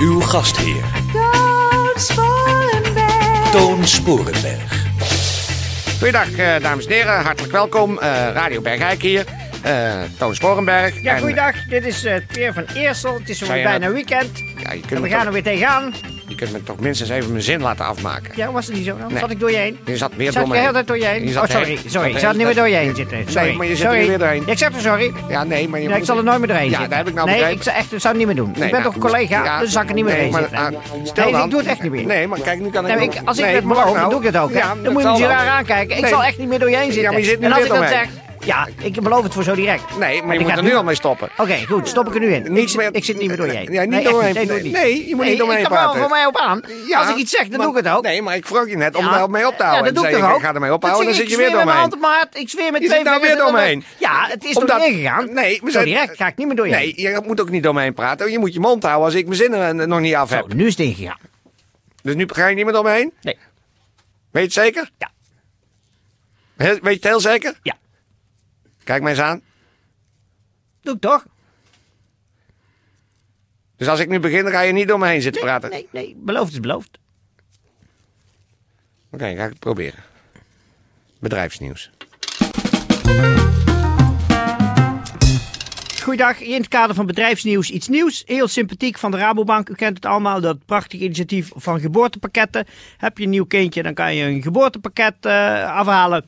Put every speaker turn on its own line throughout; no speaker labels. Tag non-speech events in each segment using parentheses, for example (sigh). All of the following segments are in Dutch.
Uw gastheer
Toon Sporenberg.
Toon Sporenberg.
Goeiedag, eh, dames en heren. Hartelijk welkom. Eh, Radio Bergijk hier. Eh, Toon Sporenberg.
Ja,
En,
goeiedag. Dit is eh Peer van Eersel. Het is
Zou
alweer
je
bijna
dat-
weekend.
Ja, je,
En
kunt
we
me
gaan
toch,
er weer tegenaan.
je kunt me toch minstens even mijn zin laten afmaken.
Ja, was het niet zo? Dan
Nee.
zat ik door je heen.
Je zat weer
zat
door
ik
me
de hele
heen.
tijd door je heen?
Je zat
oh,
de hele-
sorry.
zat de
Sorry, ik zat er niet
hele
meer door je
tijd-
heen zitten. Sorry.
maar je zit er
sorry.
weer doorheen.
Ik zeg er sorry.
Ja, nee, maar je
Ja, ik
moet-
zal er nooit meer doorheen
Ja,
zitten.
dat heb ik nou
Nee,
begrepen.
ik zou echt, dat zou ik niet meer doen.
Nee,
ik ben
nou,
toch een collega,
ja,
dus zak ik er niet meer
nee,
heen
maar,
zitten.
ah, stel
nee,
dan.
ik doe het echt niet meer.
Nee, maar kijk, nu kan ik
Nee,
ook-
maar ik- als ik
Nee,
het
maar
beloof,
nou.
dan doe ik het ook. hè.
Ja, dat
dan moet je
zal
me zo
wel.
raar aankijken. Ik
Nee.
zal echt niet meer door je heen zitten.
Ja, maar je zit nu
en als
weer
ik dat
doorheen.
zeg, ja, ik beloof het voor zo direct.
Nee, maar je
ik
moet
ga
er
nu-
nu al mee stoppen.
Oké, goed, stop ik er nu in.
Niet
Ik zit,
meer-
ik zit niet meer door je heen.
Ja, niet
nee,
door
echt
me heen.
niet. Nee, doe het
Nee,
niet.
je moet niet door me
ik
heen
kan wel
praten.
voor mij op aan.
Ja,
Als ik iets zeg, dan
maar-
doe ik het ook.
Nee, maar ik vroeg je net om
Ja.
daar mee op te houden.
Ja, dat doe
En zei
ik toch
je,
ook.
ik ga ermee ophouden
houden
en dan zit je weer door me heen.
Ik zweer met
Je
twee
zit nou
vingers
weer door me
en
heen.
dan- Ja, het is
Omdat-
door je heen gegaan.
Nee, we
Zo
zijn-
direct ga ik niet meer door je heen.
Nee, je moet ook niet door me heen praten. Je moet je mond houden als ik mijn zin er eh, nog niet af
Zo,
heb.
nu is het ingegaan.
Dus nu ga je niet meer door me heen?
Nee.
Weet je het zeker?
Ja.
Heel- weet je het heel zeker?
Ja.
Kijk mij eens aan.
Doe ik toch?
Dus als ik nu begin, dan ga je niet door me heen zitten praten.
Nee, nee, beloofd is beloofd.
Oké, ga ik het proberen. Bedrijfsnieuws.
Goeiedag, in het kader van bedrijfsnieuws iets nieuws. Heel sympathiek van de Rabobank. U kent het allemaal, dat prachtige initiatief van geboortepakketten. Heb je een nieuw kindje, dan kan je een geboortepakket eh, afhalen.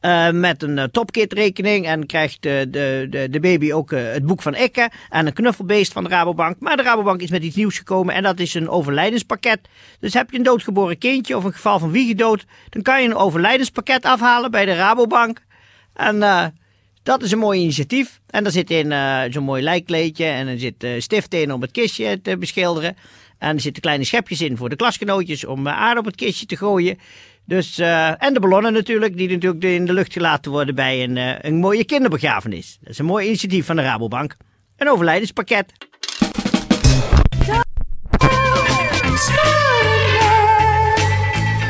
eh, met een topkitrekening topkitrekening en krijgt eh, de, de, de baby ook eh, het boek van Ikke en een knuffelbeest van de Rabobank. Maar de Rabobank is met iets nieuws gekomen en dat is een overlijdenspakket. Dus heb je een doodgeboren kindje of een geval van wiegedood, dan kan je een overlijdenspakket afhalen bij de Rabobank. En eh, dat is een mooi initiatief. En daar zit in eh, zo'n mooi lijkkleedje en er zit eh, stift in om het kistje te beschilderen. En er zitten kleine schepjes in voor de klasgenootjes om eh, aarde op het kistje te gooien. Dus, eh, en de ballonnen natuurlijk, die natuurlijk in de lucht gelaten worden bij een, eh, een mooie kinderbegrafenis. Dat is een mooi initiatief van de Rabobank. Een overlijdenspakket.
Toon Sporenberg.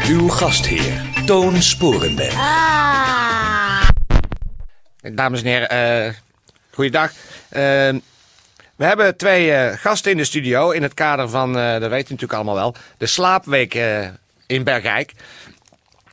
Uw gastheer Toon Sporenberg.
Ah.
Dames en heren, eh goeiedag. Eh, we hebben twee eh, gasten in de studio in het kader van, eh, dat weet u natuurlijk allemaal wel, de slaapweek eh, in Bergijk.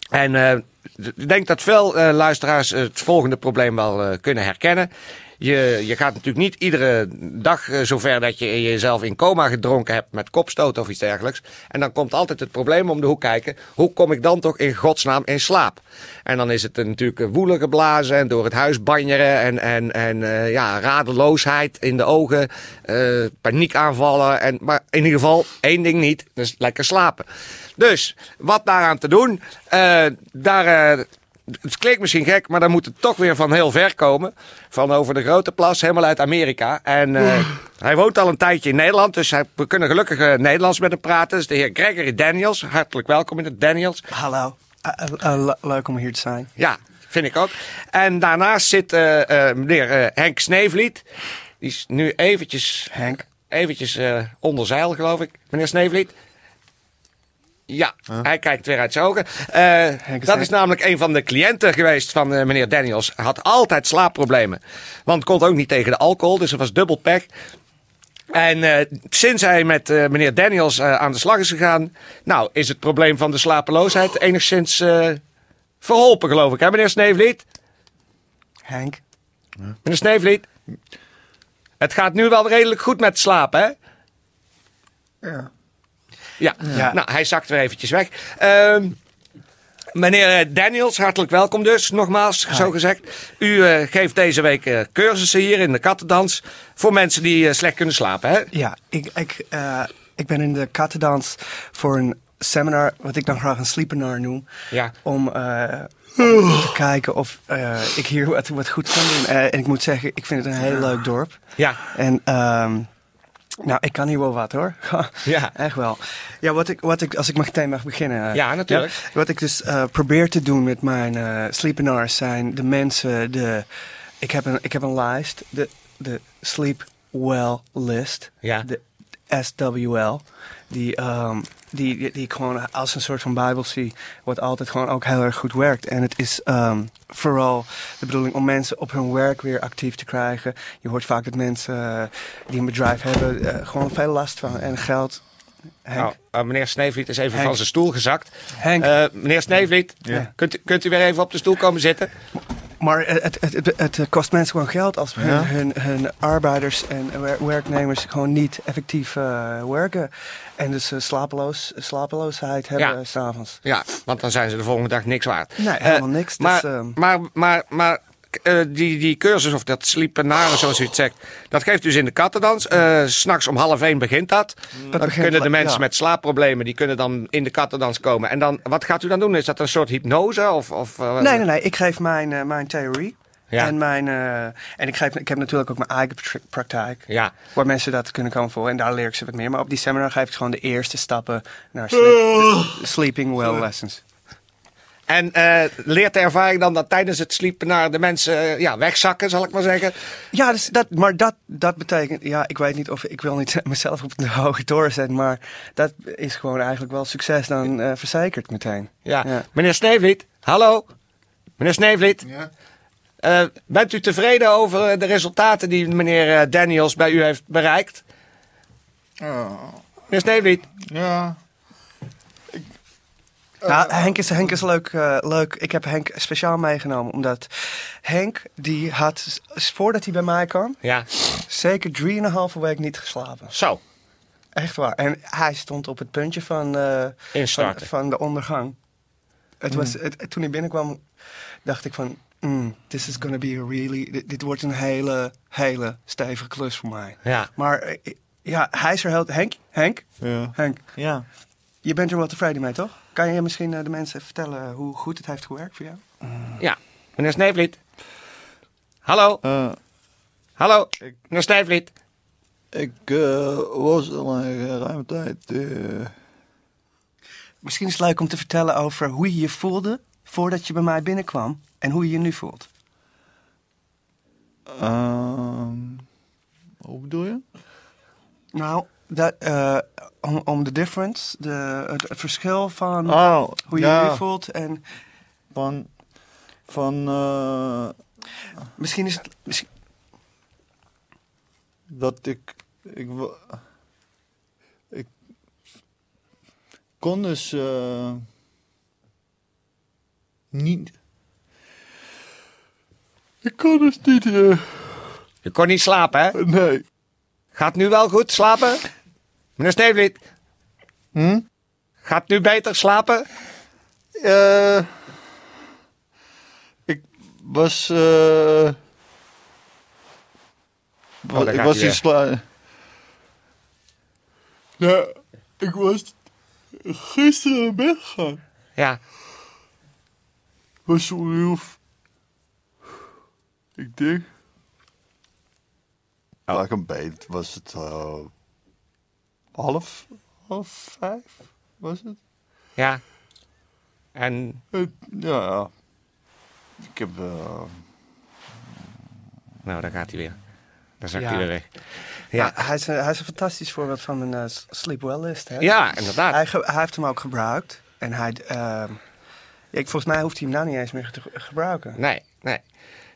En eh, d- ik denk dat veel eh, luisteraars het volgende probleem wel eh, kunnen herkennen. Je, je gaat natuurlijk niet iedere dag eh, zover dat je jezelf in coma gedronken hebt met kopstoot of iets dergelijks. En dan komt altijd het probleem om de hoek kijken. Hoe kom ik dan toch in godsnaam in slaap? En dan is het eh, natuurlijk eh, woelen geblazen en door het huis banjeren en, en, en eh, ja, radeloosheid in de ogen, eh, paniekaanvallen. En, maar in ieder geval één ding niet, dus lekker slapen. Dus wat daaraan te doen, eh, daar, eh, het klinkt misschien gek, maar dan moet het toch weer van heel ver komen. Van over de grote plas, helemaal uit Amerika. En eh, hij woont al een tijdje in Nederland, dus hij- we kunnen gelukkig eh, Nederlands met hem praten. Dat is de heer Gregory Daniels. Hartelijk welkom in het Daniels.
Hallo. Eh, eh, eh, le- leuk om hier te zijn.
Ja, vind ik ook. En daarnaast zit eh, eh, meneer eh, Henk Sneevliet. Die is nu eventjes,
Henk.
eventjes eh, onder zeil, geloof ik. Meneer Sneevliet. Ja, hij kijkt weer uit zijn ogen. Eh,
Henk is
dat
Henk.
is namelijk een van de cliënten geweest van eh, meneer Daniels. Hij Had altijd slaapproblemen. Want kon ook niet tegen de alcohol, dus er was dubbel pech. En eh, sinds hij met eh, meneer Daniels eh, aan de slag is gegaan... nou, is het probleem van de slapeloosheid enigszins eh, verholpen, geloof ik. Hè, meneer Sneevliet?
Henk.
Meneer Sneevliet? Het gaat nu wel redelijk goed met slapen, hè?
Ja.
Ja.
Ja.
Nou, hij zakt weer eventjes weg. Ehm, meneer eh, Daniels, hartelijk welkom dus, nogmaals, zo gezegd. U eh, geeft deze week eh, cursussen hier in de kattendans... voor mensen die eh, slecht kunnen slapen, hè?
Ja, ik, ik, eh, ik ben in de kattendans voor een seminar, wat ik dan graag een sleepenaar noem.
Ja.
Om eh, te kijken of eh, ik hier wat, wat goed kan doen. Eh, en ik moet zeggen, ik vind het een heel leuk dorp.
Ja.
En ehm, nou, ik kan hier wel wat hoor. (laughs)
Ja.
Echt wel. Ja, wat ik, wat ik, als ik meteen mag beginnen. eh,
Ja, natuurlijk.
wat ik dus eh, probeer te doen met mijn eh sleepenaars zijn de mensen, de, ik, heb een, ik heb een lijst, de, de Sleep Well List,
Ja.
de SWL, die, ehm, die, die, die ik gewoon als een soort van bijbel zie, wat altijd gewoon ook heel erg goed werkt. En het is ehm, vooral de bedoeling om mensen op hun werk weer actief te krijgen. Je hoort vaak dat mensen eh, die een bedrijf hebben eh, gewoon veel last van en geld. Henk,
Nou, eh, meneer Sneevliet is even
Henk.
van zijn stoel gezakt.
Henk.
Eh, meneer Sneevliet,
Ja.
kunt, u- kunt u weer even op de stoel komen zitten?
Maar het, het, het, het kost mensen gewoon geld als hun, hun, hun arbeiders en wer- werknemers gewoon niet effectief eh, werken. En dus eh, slapeloos, slapeloosheid hebben
Ja.
s s'avonds.
Ja, want dan zijn ze de volgende dag niks waard.
Nee,
Eh,
helemaal niks, dus,
maar,
ehm.
maar, maar, maar eh, die, die cursus of dat sliepenaren, zoals u het zegt, dat geeft dus in de kattendans. Eh, S S'nachts om half één begint dat. dan
begint
kunnen de
le-
mensen
ja.
met slaapproblemen, die kunnen dan in de kattendans komen. En dan, wat gaat u dan doen? Is dat een soort hypnose? Of, of, eh,
Nee, nee, nee. Ik geef mijn, eh, mijn theorie.
Ja.
En, mijn, eh, en ik, geef, ik heb natuurlijk ook mijn eigen pra- praktijk.
Ja.
Waar mensen dat kunnen komen voor. En daar leer ik ze wat meer. Maar op die seminar geef ik gewoon de eerste stappen naar
Ah.
sleep- sleeping well lessons.
En eh, leert de ervaring dan dat tijdens het sliepenaren de mensen eh, ja, wegzakken, zal ik maar zeggen?
Ja, dus dat, maar dat, dat betekent, ja, ik weet niet of ik wil niet (laughs) mezelf op de hoge toren zetten, maar dat is gewoon eigenlijk wel succes dan eh, verzekerd meteen.
Ja. Meneer Sneevliet, hallo. Meneer Sneevliet. Eh, bent u tevreden over eh, de resultaten die meneer eh, Daniels bij u heeft bereikt? Meneer Sneevliet.
Ja.
Nou, Henk is, Henk is leuk, eh, leuk. Ik heb Henk speciaal meegenomen, omdat Henk, die had, s- s- voordat hij bij mij kwam,
Ja,
zeker drieënhalve week niet geslapen.
zo.
Echt waar. En hij stond op het puntje van, eh, van,
Instarten.
van de ondergang. Het was, het, toen hij binnenkwam, dacht ik van... Mm, this is gonna be a really... Dit, dit wordt een hele, hele stevige klus voor mij.
Ja.
Maar eh, ja, hij is er heel... Henk, Henk,
Ja.
Henk,
Ja.
je bent er wel tevreden mee, toch? Kan je misschien eh, de mensen vertellen hoe goed het heeft gewerkt voor jou?
Ja. Meneer Sneevliet. Hallo.
Eh,
Hallo. Meneer Sneevliet.
ik eh, was al een ruime tijd. eh,
Misschien is het leuk om te vertellen over hoe je je voelde voordat je bij mij binnenkwam en hoe je je nu voelt.
ehm, hoe bedoel je?
Nou, dat, eh, om, om de difference, de, het, het verschil van
Oh,
hoe je je
ja,
nu voelt en
Van. Van. eh,
Misschien is het. misschien-
dat ik. Ik. wa- Ik. Kon dus. eh, niet. Ik kon dus niet. eh,
Je kon niet slapen, hè?
nee.
Gaat nu wel goed slapen? Meneer Sneevliet.
Hm?
Gaat nu beter slapen?
Eh, ik was. eh, wa-
Oh, daar
ik
gaat hij
was in
weer.
sla. Ja, ik was gisteren weggegaan.
Ja.
Was om heel. v- Ik denk. Pak een beet was het. eh, half. half vijf was het?
Ja. En
Het- Eh, ja, ja. Ik heb. eh,
Nou, daar gaat hij weer. Daar zakt
Ja.
hij weer weg. Ja,
Nou, hij, is een, hij is een fantastisch voorbeeld van een eh, s- sleep well list. Hè?
ja inderdaad.
Hij, ge- hij heeft hem ook gebruikt. En hij. ehm, ja, ik, volgens mij hoeft hij hem nou niet eens meer te ge- gebruiken.
Nee, nee.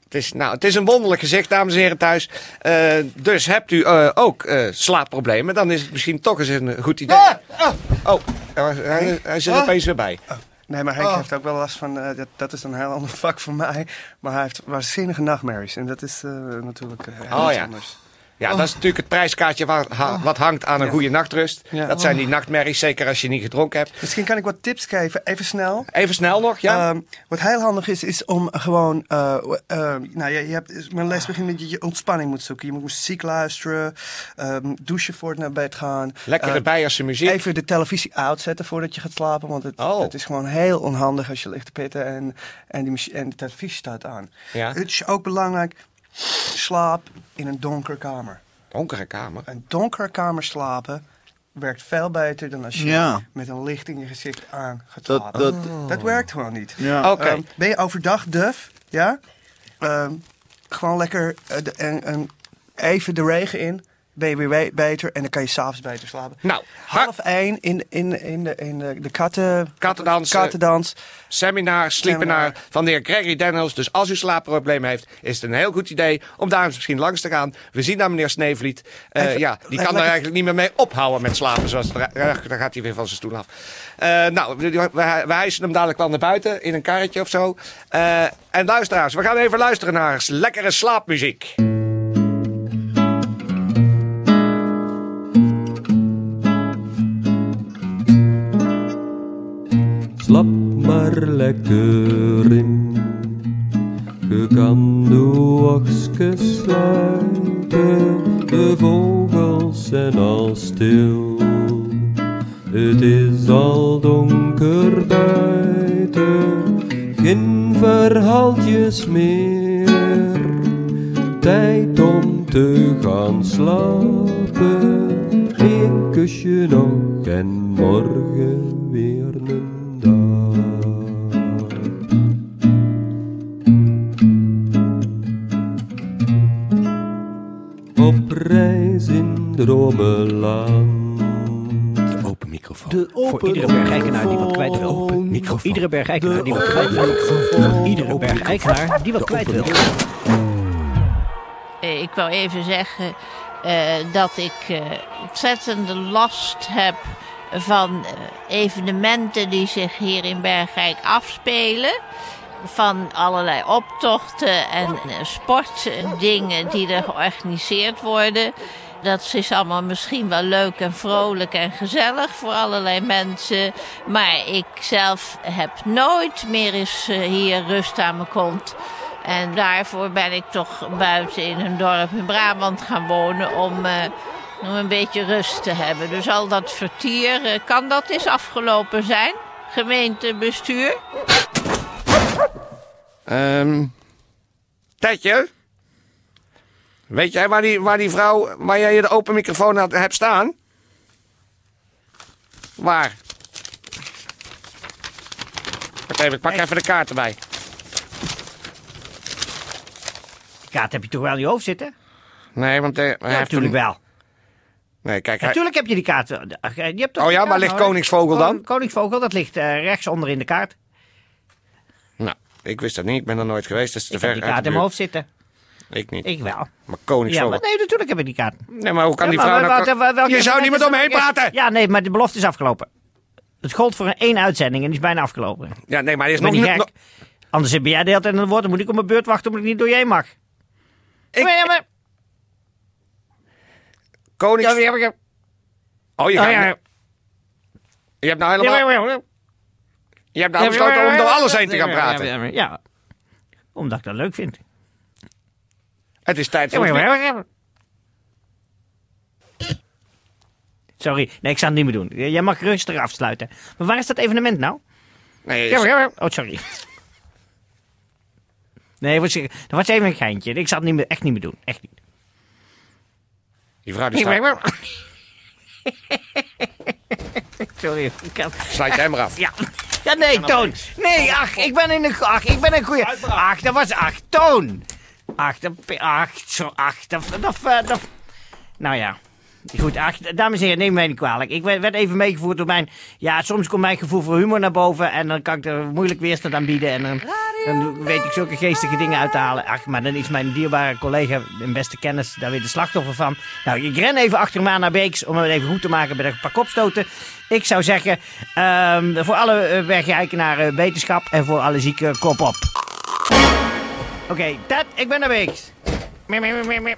Het is, nou, het is een wonderlijk gezicht, dames en heren thuis. Eh, dus hebt u eh, ook eh, slaapproblemen, dan is het misschien toch eens een goed idee.
Ah!
Oh, hij was- hij, hij zit er opeens weer bij.
Nee, maar Henk
Oh.
heeft ook wel last van. eh, dat, dat is een heel (laughs) ander vak voor mij. Maar hij heeft waanzinnige nachtmerries. En dat is eh, natuurlijk eh, heel
Oh,
iets
ja.
anders.
Ja, dat is natuurlijk het prijskaartje wat, ha- wat hangt aan een goede nachtrust.
Ah! Ja. Ah!
Dat zijn die nachtmerries, zeker als je niet gedronken hebt.
Misschien kan ik wat tips geven, even snel.
Even snel nog, ja?
Ehm, wat heel handig is, is om gewoon. eh, w- ehm, nou, je, je hebt, is- mijn les begint met je, je ontspanning moet zoeken. Je moet muziek luisteren, ehm, douchen voor het naar bed gaan.
Lekkere
Ehm,
Beierse muziek.
Even de televisie uitzetten voordat je gaat slapen. Want het,
Oh.
het is gewoon heel onhandig als je ligt te pitten en, en, die, machine- en de televisie staat aan.
Ja.
Het is ook belangrijk, slaap in een donkere kamer.
Donkere kamer.
Een donkere kamer slapen werkt veel beter dan als je
Ja.
met een licht in je gezicht aan gaat
Dat-
slapen.
dat-
dat werkt gewoon niet.
Ja.
Oké.
Ehm, ben je overdag duf? Ja? Ehm, gewoon lekker eh, de- en, en even de regen in. Ben je weer we- beter en dan kan je s'avonds beter slapen.
Nou,
half één in, in, in, de, in de, de katten,
Kattendans, eh,
kattendans.
Seminar, sliepenaar
Seminar.
van de heer Gregory Daniels. Dus als u slaapproblemen heeft, is het een heel goed idee om daar eens misschien langs te gaan. We zien daar meneer Sneevliet. Eh,
Even-
ja, die
even
kan er
lekker-
eigenlijk niet meer mee ophouden met slapen. Zoals het ra- ja, dan gaat hij weer van zijn stoel af. Eh, nou, we, we, we hijsen hem dadelijk wel naar buiten in een karretje of zo. Eh, en luisteraars, we gaan even luisteren naar lekkere slaapmuziek.
Slap maar lekker in. Je kan de oogstjes sluiten, de vogels zijn al stil. Het is al donker buiten, geen verhaaltjes meer. Tijd om te gaan slapen, Eén kusje nog en morgen weer een dag. Op reis in dromeland.
Open microfoon.
De
Voor iedere bergijkenaar die wat kwijt wil.
open
Voor
microfoon.
iedere bergijkenaar
De
die wat kwijt wil. Voor iedere bergijkenaar die wat kwijt wil.
Eh, Ik wil even zeggen eh, dat ik eh, ontzettende last heb van eh, evenementen die zich hier in Bergrijk afspelen. Van allerlei optochten en eh, sportdingen die er georganiseerd worden. Dat is allemaal misschien wel leuk en vrolijk en gezellig voor allerlei mensen. Maar ik zelf heb nooit meer eens eh, hier rust aan mijn kont. En daarvoor ben ik toch buiten in een dorp in Brabant gaan wonen om, eh, om een beetje rust te hebben. Dus al dat vertier, eh, kan dat eens afgelopen zijn? Gemeentebestuur?
Ehm Tetje? Weet jij waar die, waar die vrouw, waar jij de open microfoon had, hebt staan? Waar? Wacht even, ik pak even de kaart erbij.
Die kaart heb je toch wel in je hoofd zitten?
Nee, want eh, hij
Ja,
heeft
natuurlijk
hem-
wel.
Nee, kijk, hij,
Natuurlijk heb je die kaart. wel. Ach, eh, Je hebt toch
Oh
die
ja,
kaart
maar ligt
nodig?
Koningsvogel dan?
Kon- Koningsvogel, dat ligt eh, rechts onder in de kaart.
nou, ik wist dat niet, ik ben er nooit geweest, dat is te
Ik
ver
heb die
uit
kaart
de
in mijn
buurt.
hoofd zitten.
Ik niet,
Ik wel.
maar
Ja,
koningsvogel.
maar nee, natuurlijk heb ik die kaart.
Nee, maar hoe kan
Ja,
die
maar
vrouw
wa-
nou...
wa- wa- welke-
je zou niet met
welke-
omheen praten!
Ja, nee, maar de belofte is afgelopen. Het gold voor een één uitzending en die is bijna afgelopen. Ik
Ja, nee, maar er is
ben
nog...
niet
nog-
gek. Anders heb jij de hele tijd aan het woord. Dan moet ik op mijn beurt wachten omdat ik niet door jij mag.
Ik-
Ja, maar-
Konings...
ja, maar- ja,
Oh, je,
maar-
gaat-
ja, maar-
je hebt nou
ja,
helemaal...
maar- ja, maar-
Je hebt nou besloten om door alles heen te gaan praten.
Ja, maar- ja. omdat ik dat leuk vind.
Het is tijd
Ja,
voor...
maar-
het-
ja, maar- ja, maar- Sorry, nee, ik zou het niet meer doen. Jij mag rustig afsluiten. Maar waar is dat evenement nou?
Nee,
Ja, maar- ja, maar- Oh, sorry. Nee, was, dat was even een geintje. Ik zal het niet meer, echt niet meer doen. Echt niet.
die vrouw die staat,
(laughs) Sorry, ik kan...
sluit hem maar af.
Ja. Ja, nee, Toon. Nee, ach, ik ben in een... go- Ach, ik ben een goeie... Ach, dat was... Ach, Toon. Ach, dat... Ach, zo... Ach, dat... dat, eh, dat nou ja. Goed, ach, dames en heren, neem mij niet kwalijk. Ik werd werd even meegevoerd door mijn... Ja, soms komt mijn gevoel voor humor naar boven... en dan kan ik er moeilijk weerstand aan bieden... en dan, dan weet ik zulke geestige dingen uit te halen. Ach, maar dan is mijn dierbare collega, mijn beste kennis... daar weer de slachtoffer van. Nou, ik ren even achter me aan naar Beeks... om het even goed te maken bij een paar kopstoten. Ik zou zeggen, ehm, voor alle eh, bergrijkenaren wetenschap... en voor alle zieken, kop op. Oké, dat, ik ben naar Beeks. Mim, mim, mim, mim.